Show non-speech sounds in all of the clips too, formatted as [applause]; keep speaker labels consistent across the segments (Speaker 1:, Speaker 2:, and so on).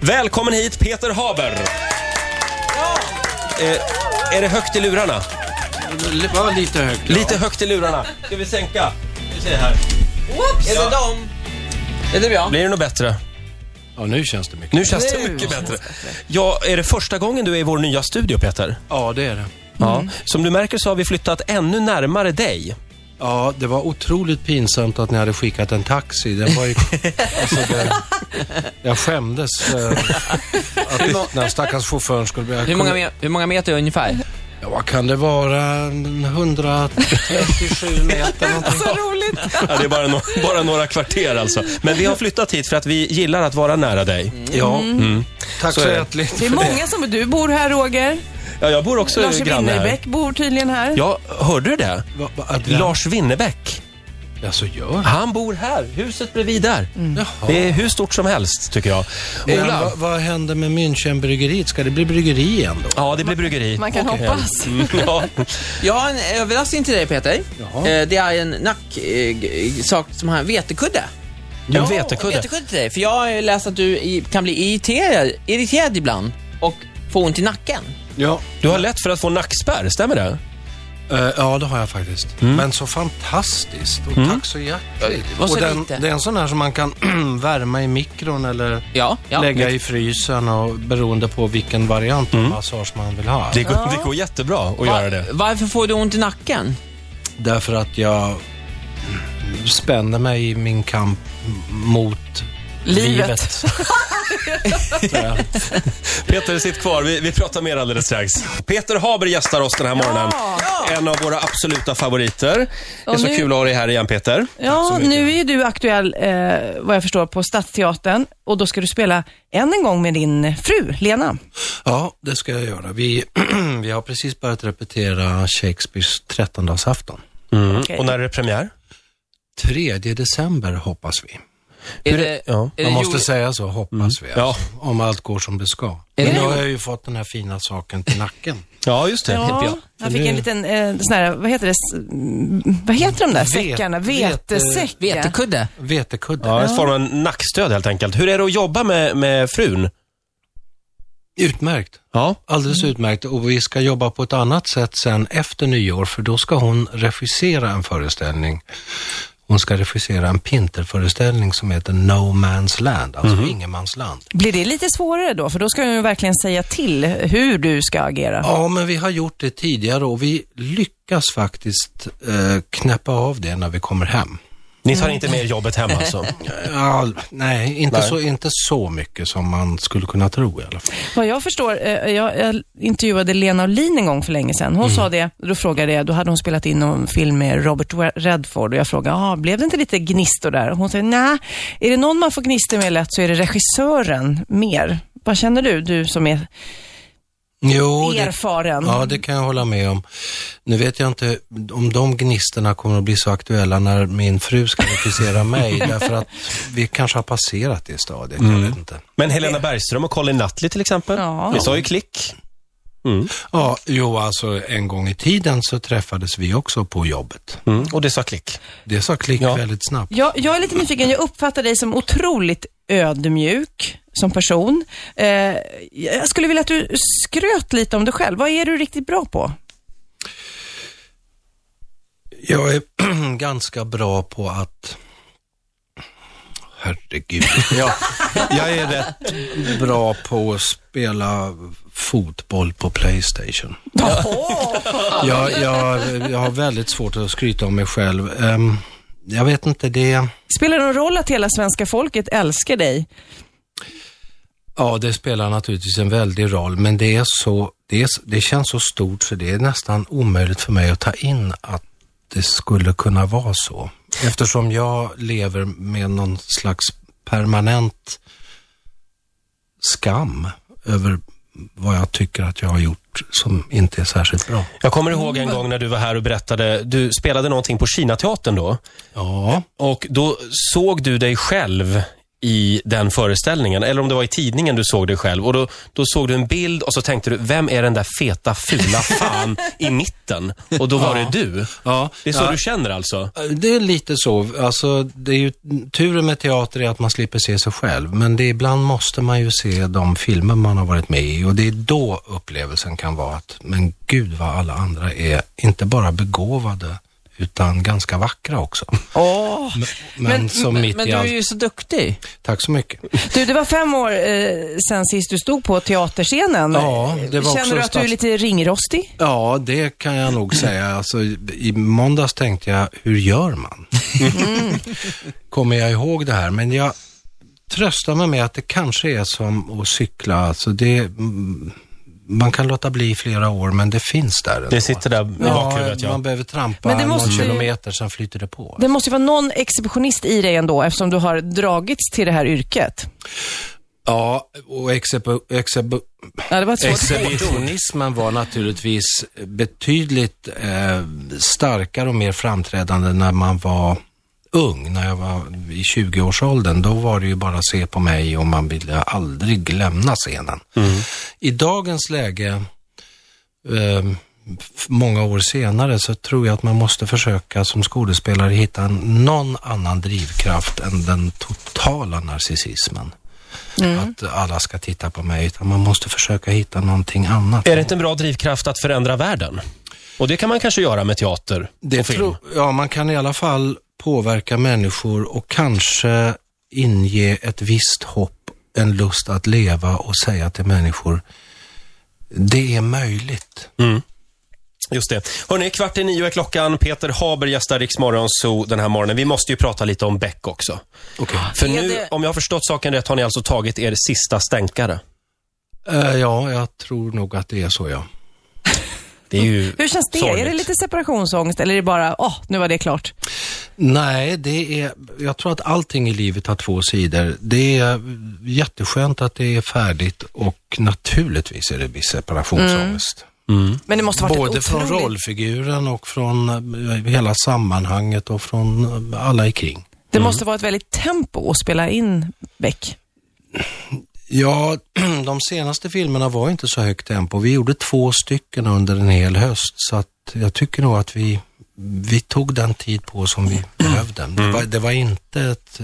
Speaker 1: Välkommen hit Peter Haber. Eh, är det högt i lurarna?
Speaker 2: L- var lite högt. ja.
Speaker 1: Lite högt i lurarna. Ska vi sänka? Vi ser här.
Speaker 3: Whoops! Är det dem? Är det jag?
Speaker 1: Blir det något bättre?
Speaker 2: Ja, nu känns det mycket.
Speaker 1: Nu känns det
Speaker 3: Nu
Speaker 1: mycket bättre. Ja, är det första gången du är i vår nya studio Peter?
Speaker 2: Ja, det är det.
Speaker 1: Ja. Som du märker så har vi flyttat ännu närmare dig.
Speaker 2: Ja, det var otroligt pinsamt att ni hade skickat en taxi. Den var ju... alltså, det... Jag skämdes eh, att den här stackars chauffören skulle bli...
Speaker 3: Hur många, me- hur många meter ungefär?
Speaker 2: Ja, vad kan det vara? En 137 meter någonting.
Speaker 1: Ja, det är bara, [laughs] no bara några kvarter alltså. Men vi har flyttat hit för att vi gillar att vara nära dig. Mm.
Speaker 2: Ja. Tack så
Speaker 1: är det.
Speaker 2: hjärtligt.
Speaker 4: Det är många som... Du bor här, Roger.
Speaker 1: Ja, jag bor också
Speaker 4: Lars
Speaker 1: granne här.
Speaker 4: Winnerbäck bor tydligen här.
Speaker 1: Ja, hörde du det?
Speaker 2: Va- va- att-
Speaker 1: Lars Winnerbäck.
Speaker 2: Ja, så gör han.
Speaker 1: Han bor här, huset bredvid där.
Speaker 2: Jaha.
Speaker 1: Det är hur stort som helst, tycker jag.
Speaker 2: Men
Speaker 1: Ola?
Speaker 2: vad, vad händer med Münchenbryggeriet? Ska det bli bryggeri igen då?
Speaker 1: Ja, det blir bryggeri.
Speaker 4: Man kan hoppas.
Speaker 1: Mm, ja.
Speaker 3: Jag har en överraskning till dig Peter.
Speaker 2: Jaha.
Speaker 3: Eh, Det är en nack, eh, g- sak som har en vetekudde.
Speaker 1: En vetekudde.
Speaker 3: vetekudde till dig. För jag har ju läst att du i- kan bli irriterad, irriterad ibland och få ont i nacken.
Speaker 2: Ja.
Speaker 1: Du har lätt för att få nackspärr, stämmer det?
Speaker 2: Eh, ja, det har jag faktiskt. Men så fantastiskt. Och tack så hjärtligt.
Speaker 3: var Mm. så
Speaker 2: och den,
Speaker 3: lite.
Speaker 2: det är en sån här som man kan [clears throat] värma i mikron eller
Speaker 3: Ja, ja.
Speaker 2: lägga i frysen och beroende på vilken variant
Speaker 3: Mm.
Speaker 2: av massage man vill ha.
Speaker 1: Det går, det går jättebra att
Speaker 3: Va-
Speaker 1: göra det.
Speaker 3: Varför får du ont i nacken?
Speaker 2: Därför att jag mm, spänner mig i min kamp m- mot
Speaker 4: Livet.
Speaker 2: livet.
Speaker 1: Peter, sitt kvar. Vi, vi pratar mer alldeles strax. Peter Haber gästar oss den här morgonen. En av våra absoluta favoriter. Det är
Speaker 4: Och
Speaker 1: så
Speaker 4: nu-
Speaker 1: kul att ha dig här igen, Peter.
Speaker 4: Ja, nu är ju du aktuell, eh, vad jag förstår, på Stadsteatern och då ska du spela än en gång med din fru, Lena.
Speaker 2: Ja, det ska jag göra. Vi, [clears throat] vi har precis börjat repetera Shakespeares trettondagsafton.
Speaker 1: Mm.
Speaker 4: Okej.
Speaker 1: Och när är det premiär?
Speaker 2: 3 december hoppas vi.
Speaker 3: Är det,
Speaker 1: ja.
Speaker 3: är det
Speaker 2: Man måste
Speaker 3: jul-
Speaker 2: säga så, hoppas vi.
Speaker 1: Mm. Ja.
Speaker 2: Alltså, om allt går som det ska. Men nu har jag ju fått den här fina saken till nacken.
Speaker 1: Ja, just det.
Speaker 4: Ja, han fick en liten eh, sån här, vad heter det, S- mm, vad heter de där säckarna?
Speaker 2: vete-
Speaker 4: Vetesäckar.
Speaker 3: Vetekudde?
Speaker 2: Vetekudde.
Speaker 1: Ja, en form av nackstöd helt enkelt. Hur är det att jobba med, med frun?
Speaker 2: Utmärkt.
Speaker 1: Ja.
Speaker 2: Alldeles
Speaker 3: Mm.
Speaker 2: utmärkt. Och vi ska jobba på ett annat sätt sen efter nyår, för då ska hon regissera en föreställning. Hon ska regissera en pinterföreställning som heter No Man's Land, alltså
Speaker 1: Mhm.
Speaker 2: ingenmansland.
Speaker 4: Blir det lite svårare då? För då ska du ju verkligen säga till hur du ska agera.
Speaker 2: Ja, men vi har gjort det tidigare och vi lyckas faktiskt eh, knäppa av det när vi kommer hem.
Speaker 1: Ni tar inte med jobbet hem alltså?
Speaker 2: Ja, nej, inte,
Speaker 1: Nej.
Speaker 2: Så, inte så mycket som man skulle kunna tro i alla fall.
Speaker 4: Vad jag förstår, eh, jag, jag intervjuade Lena Olin en gång för länge sedan.
Speaker 2: Mm.
Speaker 4: Hon sa det, då frågade jag, då hade hon spelat in en film med Robert Wa- Redford och jag frågade, ah, blev det inte lite gnistor där? Och hon säger, nej, är det någon man får gnistor med lätt så är det regissören mer. Vad känner du, du som är
Speaker 2: Jo, det,
Speaker 4: erfaren?
Speaker 2: ja, det kan jag hålla med om. Nu vet jag inte om de gnistorna kommer att bli så aktuella när min fru ska regissera mig, därför att vi kanske har passerat det stadiet.
Speaker 1: Mm.
Speaker 2: Jag vet inte.
Speaker 1: Men Helena Bergström och Colin Nutley till exempel.
Speaker 4: Ja.
Speaker 1: Ni sa ju klick.
Speaker 2: Ja, jo, alltså en gång i tiden så träffades vi också på jobbet.
Speaker 1: Mm. Och det sa klick.
Speaker 2: Det sa klick
Speaker 1: Ja.
Speaker 2: väldigt snabbt.
Speaker 4: Jag, jag är lite nyfiken. Jag uppfattar dig som otroligt ödmjuk som person. Eh, jag skulle vilja att du skröt lite om dig själv. Vad är du riktigt bra på?
Speaker 2: Jag är [clears throat] ganska bra på att... Herregud.
Speaker 1: Ja.
Speaker 2: Jag är rätt bra på att spela fotboll på Playstation.
Speaker 4: [laughs]
Speaker 2: Jag, jag, jag har väldigt svårt att skryta om mig själv. Ehm, jag vet inte, det...
Speaker 4: Spelar det någon roll att hela svenska folket älskar dig?
Speaker 2: Ja, det spelar naturligtvis en väldig roll, men det är så... Det, är, s- det känns så stort så det är nästan omöjligt för mig att ta in att det skulle kunna vara så. Eftersom jag lever med någon slags permanent skam över vad jag tycker att jag har gjort som inte är särskilt bra.
Speaker 1: Jag kommer ihåg en gång när du var här och berättade, du spelade någonting på Kinateatern då.
Speaker 2: Ja.
Speaker 1: Och då såg du dig själv i den föreställningen, eller om det var i tidningen du såg dig själv. Och då, då såg du en bild och så tänkte du, vem är den där feta, fula fan i mitten? Och då var det du.
Speaker 2: Ja,
Speaker 1: Det är så
Speaker 2: ja.
Speaker 1: du känner alltså?
Speaker 2: Det är lite så. Alltså, det är ju, turen med teater är att man slipper se sig själv, men det, är- ibland måste man ju se de filmer man har varit med i och det är då upplevelsen kan vara att, men gud vad alla andra är, inte bara begåvade, utan ganska vackra också.
Speaker 3: Åh.
Speaker 2: Men, som mitt
Speaker 3: men
Speaker 2: i
Speaker 3: du är
Speaker 2: allt.
Speaker 3: ju så duktig.
Speaker 2: Tack så mycket.
Speaker 4: Du, det var fem år eh, sen sist du stod på teaterscenen.
Speaker 2: Ja, det var
Speaker 4: Känner
Speaker 2: också
Speaker 4: du att du är
Speaker 2: stats-
Speaker 4: lite ringrostig?
Speaker 2: Ja, det kan jag nog säga. Alltså, i- I måndags tänkte jag, hur gör man?
Speaker 4: Mm.
Speaker 2: [laughs] Kommer jag ihåg det här? Men jag tröstar mig med att det kanske är som att cykla. Alltså, det, mm, man kan låta bli i flera år, men det finns där ändå.
Speaker 1: Det sitter där i bakhuvudet, ja.
Speaker 2: man behöver trampa
Speaker 4: Men det måste
Speaker 2: någon
Speaker 4: ju-
Speaker 2: kilometer, sen flyter det på.
Speaker 4: Det måste ju vara någon exhibitionist i dig ändå, eftersom du har dragits till det här yrket.
Speaker 2: Ja, och exebo, exebo,
Speaker 4: Ja, det var ett svårt
Speaker 2: Exhibitionismen var naturligtvis betydligt eh, starkare och mer framträdande när man var ung, när jag var i 20-årsåldern. Då var det ju bara se på mig och man ville aldrig lämna scenen. I dagens läge, eh, f- många år senare, så tror jag att man måste försöka som skådespelare hitta en- någon annan drivkraft än den totala narcissismen att alla ska titta på mig, utan man måste försöka hitta någonting annat.
Speaker 1: Är det inte en bra drivkraft att förändra världen? Och det kan man kanske göra med teater
Speaker 2: Det
Speaker 1: och film.
Speaker 2: tror- ja, man kan i alla fall påverka människor och kanske inge ett visst hopp, en lust att leva och säga till människor, det är möjligt.
Speaker 1: Just det. Hörrni, kvart i nio är klockan. Peter Haber gästar Rix Morgon Zoo den här morgonen. Vi måste ju prata lite om Beck också.
Speaker 2: Okej.
Speaker 1: För
Speaker 3: Är
Speaker 1: nu,
Speaker 3: det-
Speaker 1: om jag har förstått saken rätt, har ni alltså tagit er sista stänkare.
Speaker 2: Eh, ja, jag tror nog att det är så, ja.
Speaker 1: Det är ju
Speaker 4: Hur känns det?
Speaker 1: sorgligt.
Speaker 4: Är det lite separationsångest eller är det bara, åh, nu var det klart?
Speaker 2: Nej, det är, jag tror att allting i livet har två sidor. Det är jätteskönt att det är färdigt och naturligtvis är det viss separationsångest.
Speaker 4: Men det måste ha varit
Speaker 2: Både
Speaker 4: ett
Speaker 2: från
Speaker 4: otroligt...
Speaker 2: rollfiguren och från eh, hela sammanhanget och från eh, alla i kring.
Speaker 4: Det måste vara ett väldigt tempo att spela in Beck.
Speaker 2: Ja, [clears throat] de senaste filmerna var inte så högt tempo. Vi gjorde två stycken under en hel höst så att jag tycker nog att vi, vi tog den tid på som vi behövde. Det, var, det var inte ett,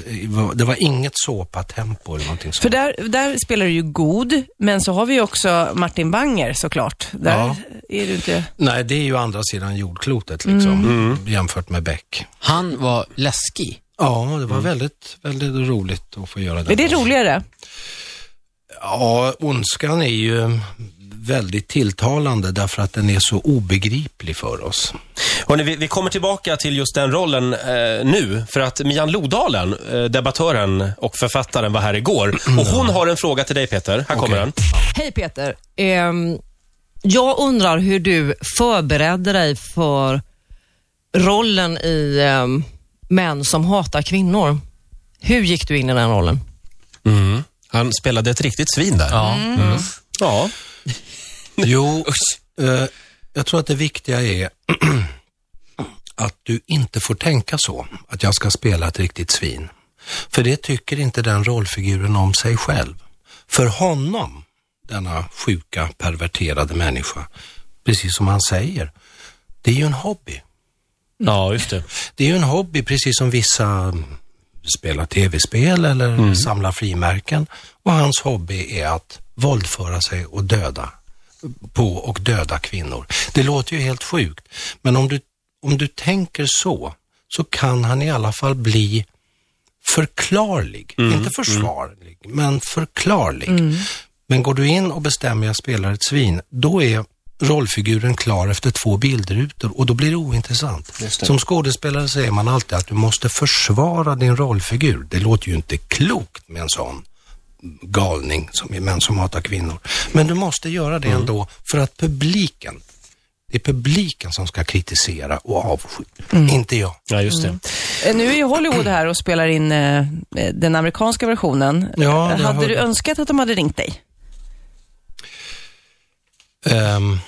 Speaker 2: det var inget såpatempo eller någonting sånt.
Speaker 4: För där, där spelar du ju god, men så har vi ju också Martin Banger såklart. Där
Speaker 2: Ja.
Speaker 4: är du inte...
Speaker 2: Nej, det är ju andra sidan jordklotet liksom jämfört med Beck.
Speaker 3: Han var läskig.
Speaker 2: Ja, det var väldigt, väldigt roligt att få göra det.
Speaker 4: Är det roligare?
Speaker 2: Ja, ondskan är ju väldigt tilltalande därför att den är så obegriplig för oss.
Speaker 1: Hörrni, vi, vi kommer tillbaka till just den rollen eh, nu. För att Mian Lodalen, eh, debattören och författaren, var här igår. Och hon har en fråga till dig, Peter. Här kommer den.
Speaker 5: Hej Peter. Ehm, jag undrar hur du förberedde dig för rollen i ehm, Män som hatar kvinnor. Hur gick du in i den rollen?
Speaker 1: Han spelade ett riktigt svin där. Mm.
Speaker 3: Ja.
Speaker 1: Ja.
Speaker 2: Jo, eh, jag tror att det viktiga är [clears throat] att du inte får tänka så, att jag ska spela ett riktigt svin. För det tycker inte den rollfiguren om sig själv. För honom, denna sjuka, perverterade människa, precis som han säger, det är ju en hobby.
Speaker 1: ja, just det.
Speaker 2: Det är ju en hobby, precis som vissa spelar tv-spel eller samlar frimärken. Och hans hobby är att våldföra sig och döda på och döda kvinnor. Det låter ju helt sjukt, men om du, om du tänker så, så kan han i alla fall bli förklarlig. Inte försvarlig, men förklarlig. Men går du in och bestämmer jag spelar ett svin, då är rollfiguren klar efter två bildrutor och då blir det ointressant. Som skådespelare säger man alltid att du måste försvara din rollfigur. Det låter ju inte klokt med en sån galning som är män som hatar kvinnor. Men du måste göra det ändå för att publiken, det är publiken som ska kritisera och avsky, inte jag.
Speaker 1: Ja, just det.
Speaker 4: Eh, Nu är ju Hollywood här och spelar in eh, eh, den amerikanska versionen. Eh,
Speaker 2: Ja, det
Speaker 4: hade
Speaker 2: hörde-
Speaker 4: du önskat att de hade ringt dig?
Speaker 2: Ehm,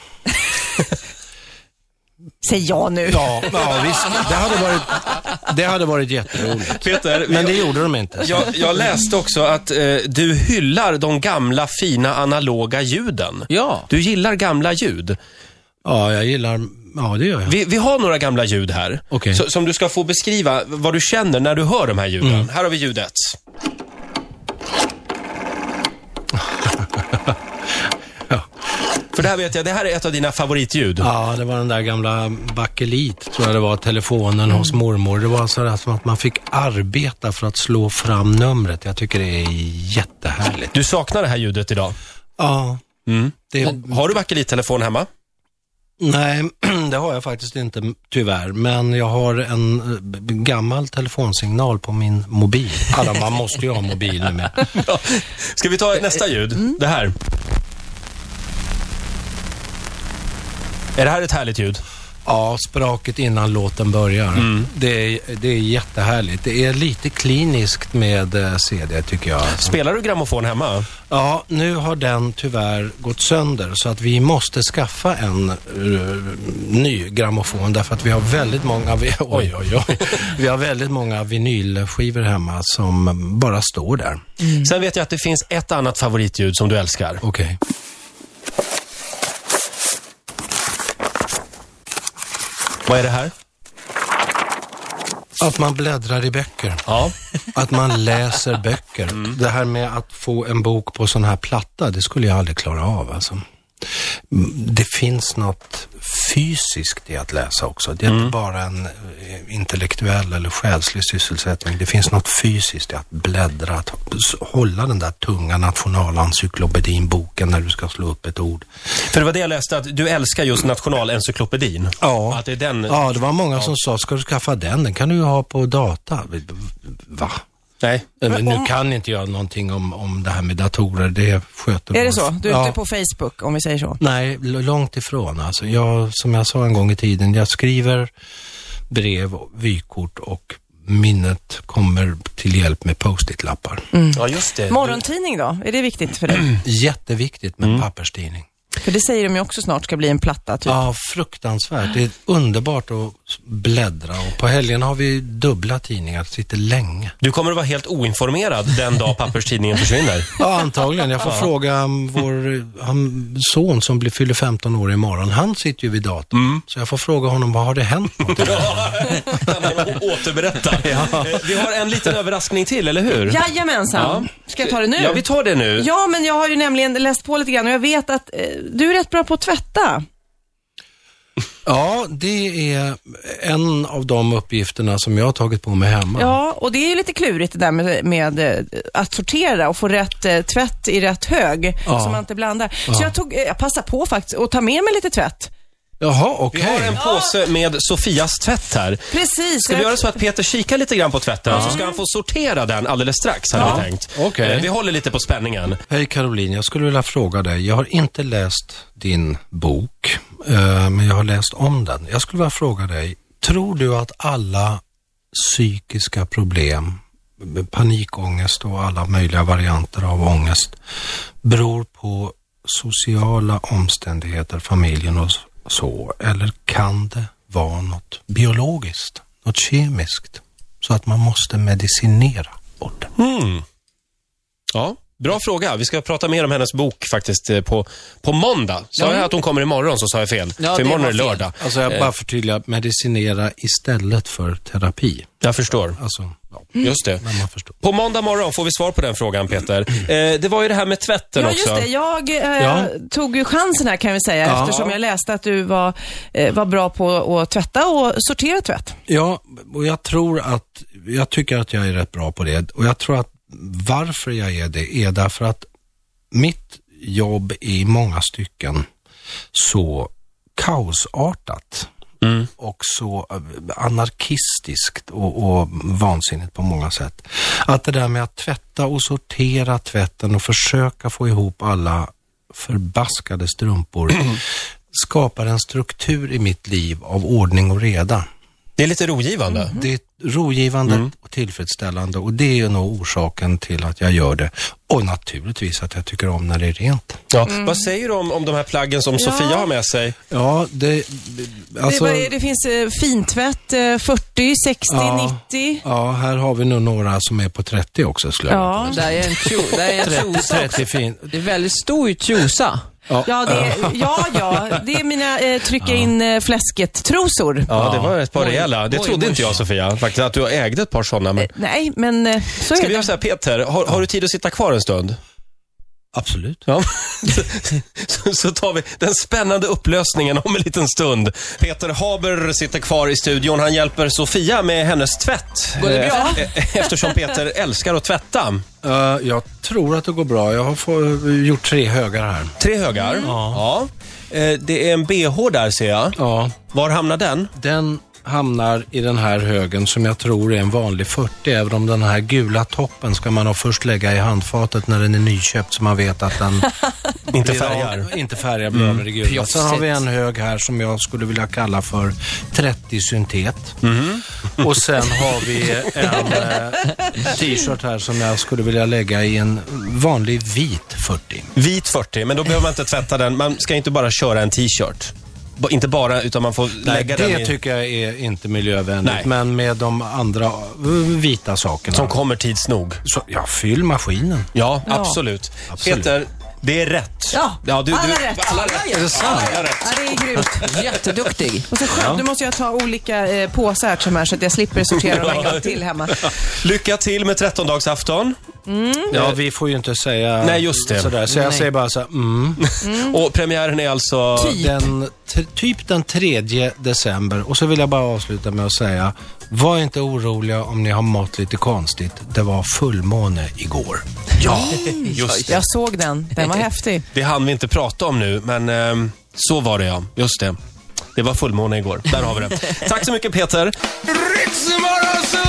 Speaker 4: Säg ja nu.
Speaker 2: Ja, ja visst. Det hade varit, det hade varit jätteroligt.
Speaker 1: Peter,
Speaker 2: Men det gjorde de inte.
Speaker 1: jag, jag läste också att eh, du hyllar de gamla fina analoga ljuden.
Speaker 3: Ja.
Speaker 1: Du gillar gamla ljud.
Speaker 2: Ja, jag gillar... Ja, det gör jag.
Speaker 1: Vi, vi har några gamla ljud här.
Speaker 2: Okej.
Speaker 1: Så, som du ska få beskriva vad du känner när du hör de här ljuden.
Speaker 2: Mm.
Speaker 1: Här har vi ljudet. För det här vet jag, det här är ett av dina favoritljud.
Speaker 2: Ja, det var den där gamla bakelit, tror jag det var, telefonen hos mormor. Det var sådär som att man fick arbeta för att slå fram numret. Jag tycker det är jättehärligt.
Speaker 1: Du saknar det här ljudet idag.
Speaker 2: Ja,
Speaker 1: Mm.
Speaker 2: det,
Speaker 1: Har du bakelittelefon hemma?
Speaker 2: nej, [clears throat] det har jag faktiskt inte, tyvärr. Men jag har en eh, b- gammal telefonsignal på min mobil. Alla, man måste ju ha mobil nu med.
Speaker 1: Ja. Ska vi ta nästa ljud? Det här. Är det här ett härligt ljud?
Speaker 2: Ja, spraket innan låten börjar. Det, är, det är jättehärligt. Det är lite kliniskt med eh, CD, tycker jag.
Speaker 1: Spelar du grammofon hemma?
Speaker 2: Ja, nu har den tyvärr gått sönder så att vi måste skaffa en eh, ny grammofon därför att vi har väldigt många, vi, [laughs] oj, oj, oj. vi har väldigt många vinylskivor hemma som bara står där.
Speaker 1: Sen vet jag att det finns ett annat favoritljud som du älskar.
Speaker 2: Okej.
Speaker 1: Vad är det här?
Speaker 2: Att man bläddrar i böcker.
Speaker 1: Ja.
Speaker 2: Att man läser böcker. Det här med att få en bok på sån här platta, det skulle jag aldrig klara av alltså. Mm, Det finns något fysiskt i att läsa också. Det är inte bara en eh, intellektuell eller själslig sysselsättning. Det finns något fysiskt i att bläddra, att s- hålla den där tunga nationalencyklopedin-boken när du ska slå upp ett ord.
Speaker 1: För det var det jag läste, att du älskar just Nationalencyklopedin.
Speaker 2: Ja.
Speaker 1: Att det är den...
Speaker 2: Ja, det var många som sa, ska du skaffa den? Den kan du ju ha på data. Va?
Speaker 1: Nej.
Speaker 2: Men nu kan inte jag någonting om, om det här med datorer, det sköter
Speaker 4: Är det
Speaker 2: vår-
Speaker 4: så? Du är
Speaker 2: ja.
Speaker 4: ute på Facebook, om vi säger så.
Speaker 2: Nej, l- långt ifrån. Alltså, jag, som jag sa en gång i tiden, jag skriver brev, och vykort och minnet kommer till hjälp med post-it-lappar.
Speaker 4: Mm.
Speaker 1: Ja, just det.
Speaker 4: Morgontidning då? Är det viktigt
Speaker 2: [clears throat]
Speaker 4: för dig?
Speaker 2: Jätteviktigt med papperstidning.
Speaker 4: För det säger de ju också snart ska bli en platta, typ.
Speaker 2: Ja, fruktansvärt. Det är underbart att s- bläddra och på helgen har vi dubbla tidningar, sitter länge.
Speaker 1: Du kommer att vara helt oinformerad den dag papperstidningen försvinner.
Speaker 2: Ja, antagligen. Jag får fråga um, vår eh, han, son som blir, fyller 15 år imorgon. Han sitter ju vid datorn.
Speaker 1: Mm.
Speaker 2: Så jag får fråga honom, vad har det hänt någonting?
Speaker 1: Ja, kan man å- återberätta. Eh, Vi har en liten överraskning till, eller hur?
Speaker 4: Jajamensan! Ska jag ta det nu?
Speaker 1: Ja, vi tar det nu.
Speaker 4: Ja, men jag har ju nämligen läst på lite grann och jag vet att eh, du är rätt bra på att tvätta.
Speaker 2: Ja, det är en av de uppgifterna som jag har tagit på mig hemma.
Speaker 4: Ja, och det är ju lite klurigt det där med, med eh, att sortera och få rätt eh, tvätt i rätt hög,
Speaker 2: Ja.
Speaker 4: så man inte blandar. Så jag, tog, eh, jag passade på faktiskt att ta med mig lite tvätt.
Speaker 2: Jaha,
Speaker 1: Vi
Speaker 2: okej.
Speaker 1: har en påse med Sofias tvätt här.
Speaker 4: Precis.
Speaker 1: Ska vi
Speaker 4: jag-
Speaker 1: göra så att Peter kikar lite grann på tvätten, så ska han få sortera den alldeles strax, hade vi tänkt.
Speaker 2: Okej.
Speaker 1: Eh, Vi håller lite på spänningen.
Speaker 2: Hej Caroline, jag skulle vilja fråga dig. Jag har inte läst din bok, eh, men jag har läst om den. Jag skulle vilja fråga dig, tror du att alla psykiska problem, eh, panikångest och alla möjliga varianter av ångest beror på sociala omständigheter, familjen och s- så? Eller kan det vara något biologiskt, något kemiskt, så att man måste medicinera bort det?
Speaker 1: Mm. Ja, bra fråga. Vi ska prata mer om hennes bok faktiskt eh, på, på måndag. Sa jag att hon kommer imorgon så sa jag fel.
Speaker 3: Ja,
Speaker 1: För
Speaker 3: det
Speaker 1: imorgon
Speaker 3: var
Speaker 1: är det
Speaker 3: fel.
Speaker 1: lördag.
Speaker 2: Alltså jag bara förtydligar, medicinera istället för terapi.
Speaker 1: Jag förstår.
Speaker 2: Alltså, ja,
Speaker 1: Just det.
Speaker 2: men man förstår.
Speaker 1: På måndag morgon får vi svar på den frågan, Peter. Eh, det var ju det här med tvätten
Speaker 4: Ja,
Speaker 1: också.
Speaker 4: just det. Jag eh,
Speaker 2: Ja.
Speaker 4: tog ju chansen här kan vi säga
Speaker 2: Ja.
Speaker 4: eftersom jag läste att du var, eh, var bra på att tvätta och sortera tvätt.
Speaker 2: Ja, och jag tror att, jag tycker att jag är rätt bra på det. Och jag tror att varför jag är det är därför att mitt jobb är i många stycken så kaosartat och så eh, anarkistiskt och, och vansinnigt på många sätt. Att det där med att tvätta och sortera tvätten och försöka få ihop alla förbaskade strumpor skapar en struktur i mitt liv av ordning och reda
Speaker 1: Det är lite rogivande.
Speaker 2: Mm. Det är rogivande och tillfredsställande och det är nog orsaken till att jag gör det. Och naturligtvis att jag tycker om när det är rent.
Speaker 1: Ja. Mm. Vad säger du om, om de här plaggen som Sofia har med sig?
Speaker 2: Ja, det... Alltså,
Speaker 4: det, är bara, det finns eh, fintvätt, eh, 40, 60,
Speaker 2: Ja.
Speaker 4: 90.
Speaker 2: Ja, här har vi nog några som är på 30 också skulle jag
Speaker 4: Ja.
Speaker 3: Där är en tjo- där är en tjosa.
Speaker 2: 30 fin.
Speaker 3: Det är väldigt stor tjosa.
Speaker 4: Ja, det är, ja, ja, det är mina eh, trycka in eh, fläsket-trosor.
Speaker 1: Ja, det var ett par
Speaker 3: Oj.
Speaker 1: rejäla. Det
Speaker 3: Oj,
Speaker 1: trodde
Speaker 3: oj.
Speaker 1: inte jag, Sofia, faktiskt, att du ägde ett par sådana. Men...
Speaker 4: Nej, men eh, så
Speaker 1: Ska
Speaker 4: är
Speaker 1: vi
Speaker 4: det.
Speaker 1: göra så här, Peter, har, har du tid att sitta kvar en stund?
Speaker 2: Absolut.
Speaker 1: Ja. så, så tar vi den spännande upplösningen om en liten stund. Peter Haber sitter kvar i studion. Han hjälper Sofia med hennes tvätt.
Speaker 3: Går det bra?
Speaker 1: Eh, eh, Eftersom Peter älskar att tvätta.
Speaker 2: Eh, jag tror att det går bra. Jag har få, gjort tre högar här.
Speaker 1: Tre högar. Ja. Eh, Det är en bh där ser jag.
Speaker 2: Ja,
Speaker 1: Var hamnar den?
Speaker 2: den hamnar i den här högen som jag tror är en vanlig 40, även om den här gula toppen ska man ha först lägga i handfatet när den är nyköpt så man vet att den
Speaker 1: Inte
Speaker 2: blir av-
Speaker 1: färgar. Mm.
Speaker 2: inte färgar blir av med det gula. Sen har vi en hög här som jag skulle vilja kalla för 30 syntet.
Speaker 1: Mm.
Speaker 2: Och sen har vi
Speaker 1: [laughs]
Speaker 2: en eh, t-shirt här som jag skulle vilja lägga i en vanlig vit 40.
Speaker 1: Vit 40, men då behöver man inte tvätta den. Man ska inte bara köra en t-shirt. B- inte bara, utan man får
Speaker 2: Nej,
Speaker 1: lägga den
Speaker 2: det
Speaker 1: i,
Speaker 2: tycker jag är inte miljövänligt,
Speaker 1: Nej.
Speaker 2: men med de andra eh, vita sakerna.
Speaker 1: som kommer tids nog.
Speaker 2: Så, ja, fyll maskinen.
Speaker 1: Ja, absolut.
Speaker 2: Absolut.
Speaker 1: Peter, det är rätt.
Speaker 4: Ja, alla rätt.
Speaker 1: Alla
Speaker 4: Alla
Speaker 1: rätt.
Speaker 4: gör det.
Speaker 1: Alla rätt.
Speaker 4: Ja, det är grymt.
Speaker 3: Jätteduktig.
Speaker 4: Och så skönt, nu måste jag ta olika eh, påsar eftersom här så att jag slipper sortera dem en gång till hemma.
Speaker 1: [laughs] Lycka till med 13-dagsafton.
Speaker 2: Ja, vi får ju inte säga
Speaker 1: Mm. Nej, just det.
Speaker 2: sådär. Så jag säger bara så här, mm.
Speaker 1: Och premiären är alltså...
Speaker 4: Typ.
Speaker 2: Den, t- typ den 3 december. Och så vill jag bara avsluta med att säga, var inte oroliga om ni har mått lite konstigt. Det var fullmåne igår.
Speaker 1: Ja, just det.
Speaker 4: Jag såg den,
Speaker 1: [laughs]
Speaker 4: den var häftig.
Speaker 1: Det hann vi inte prata om nu, men ehm, så var det ja.
Speaker 4: [laughs]
Speaker 1: Just det. Det var fullmåne igår. Där har vi det. Tack så mycket Peter. Riksmorgon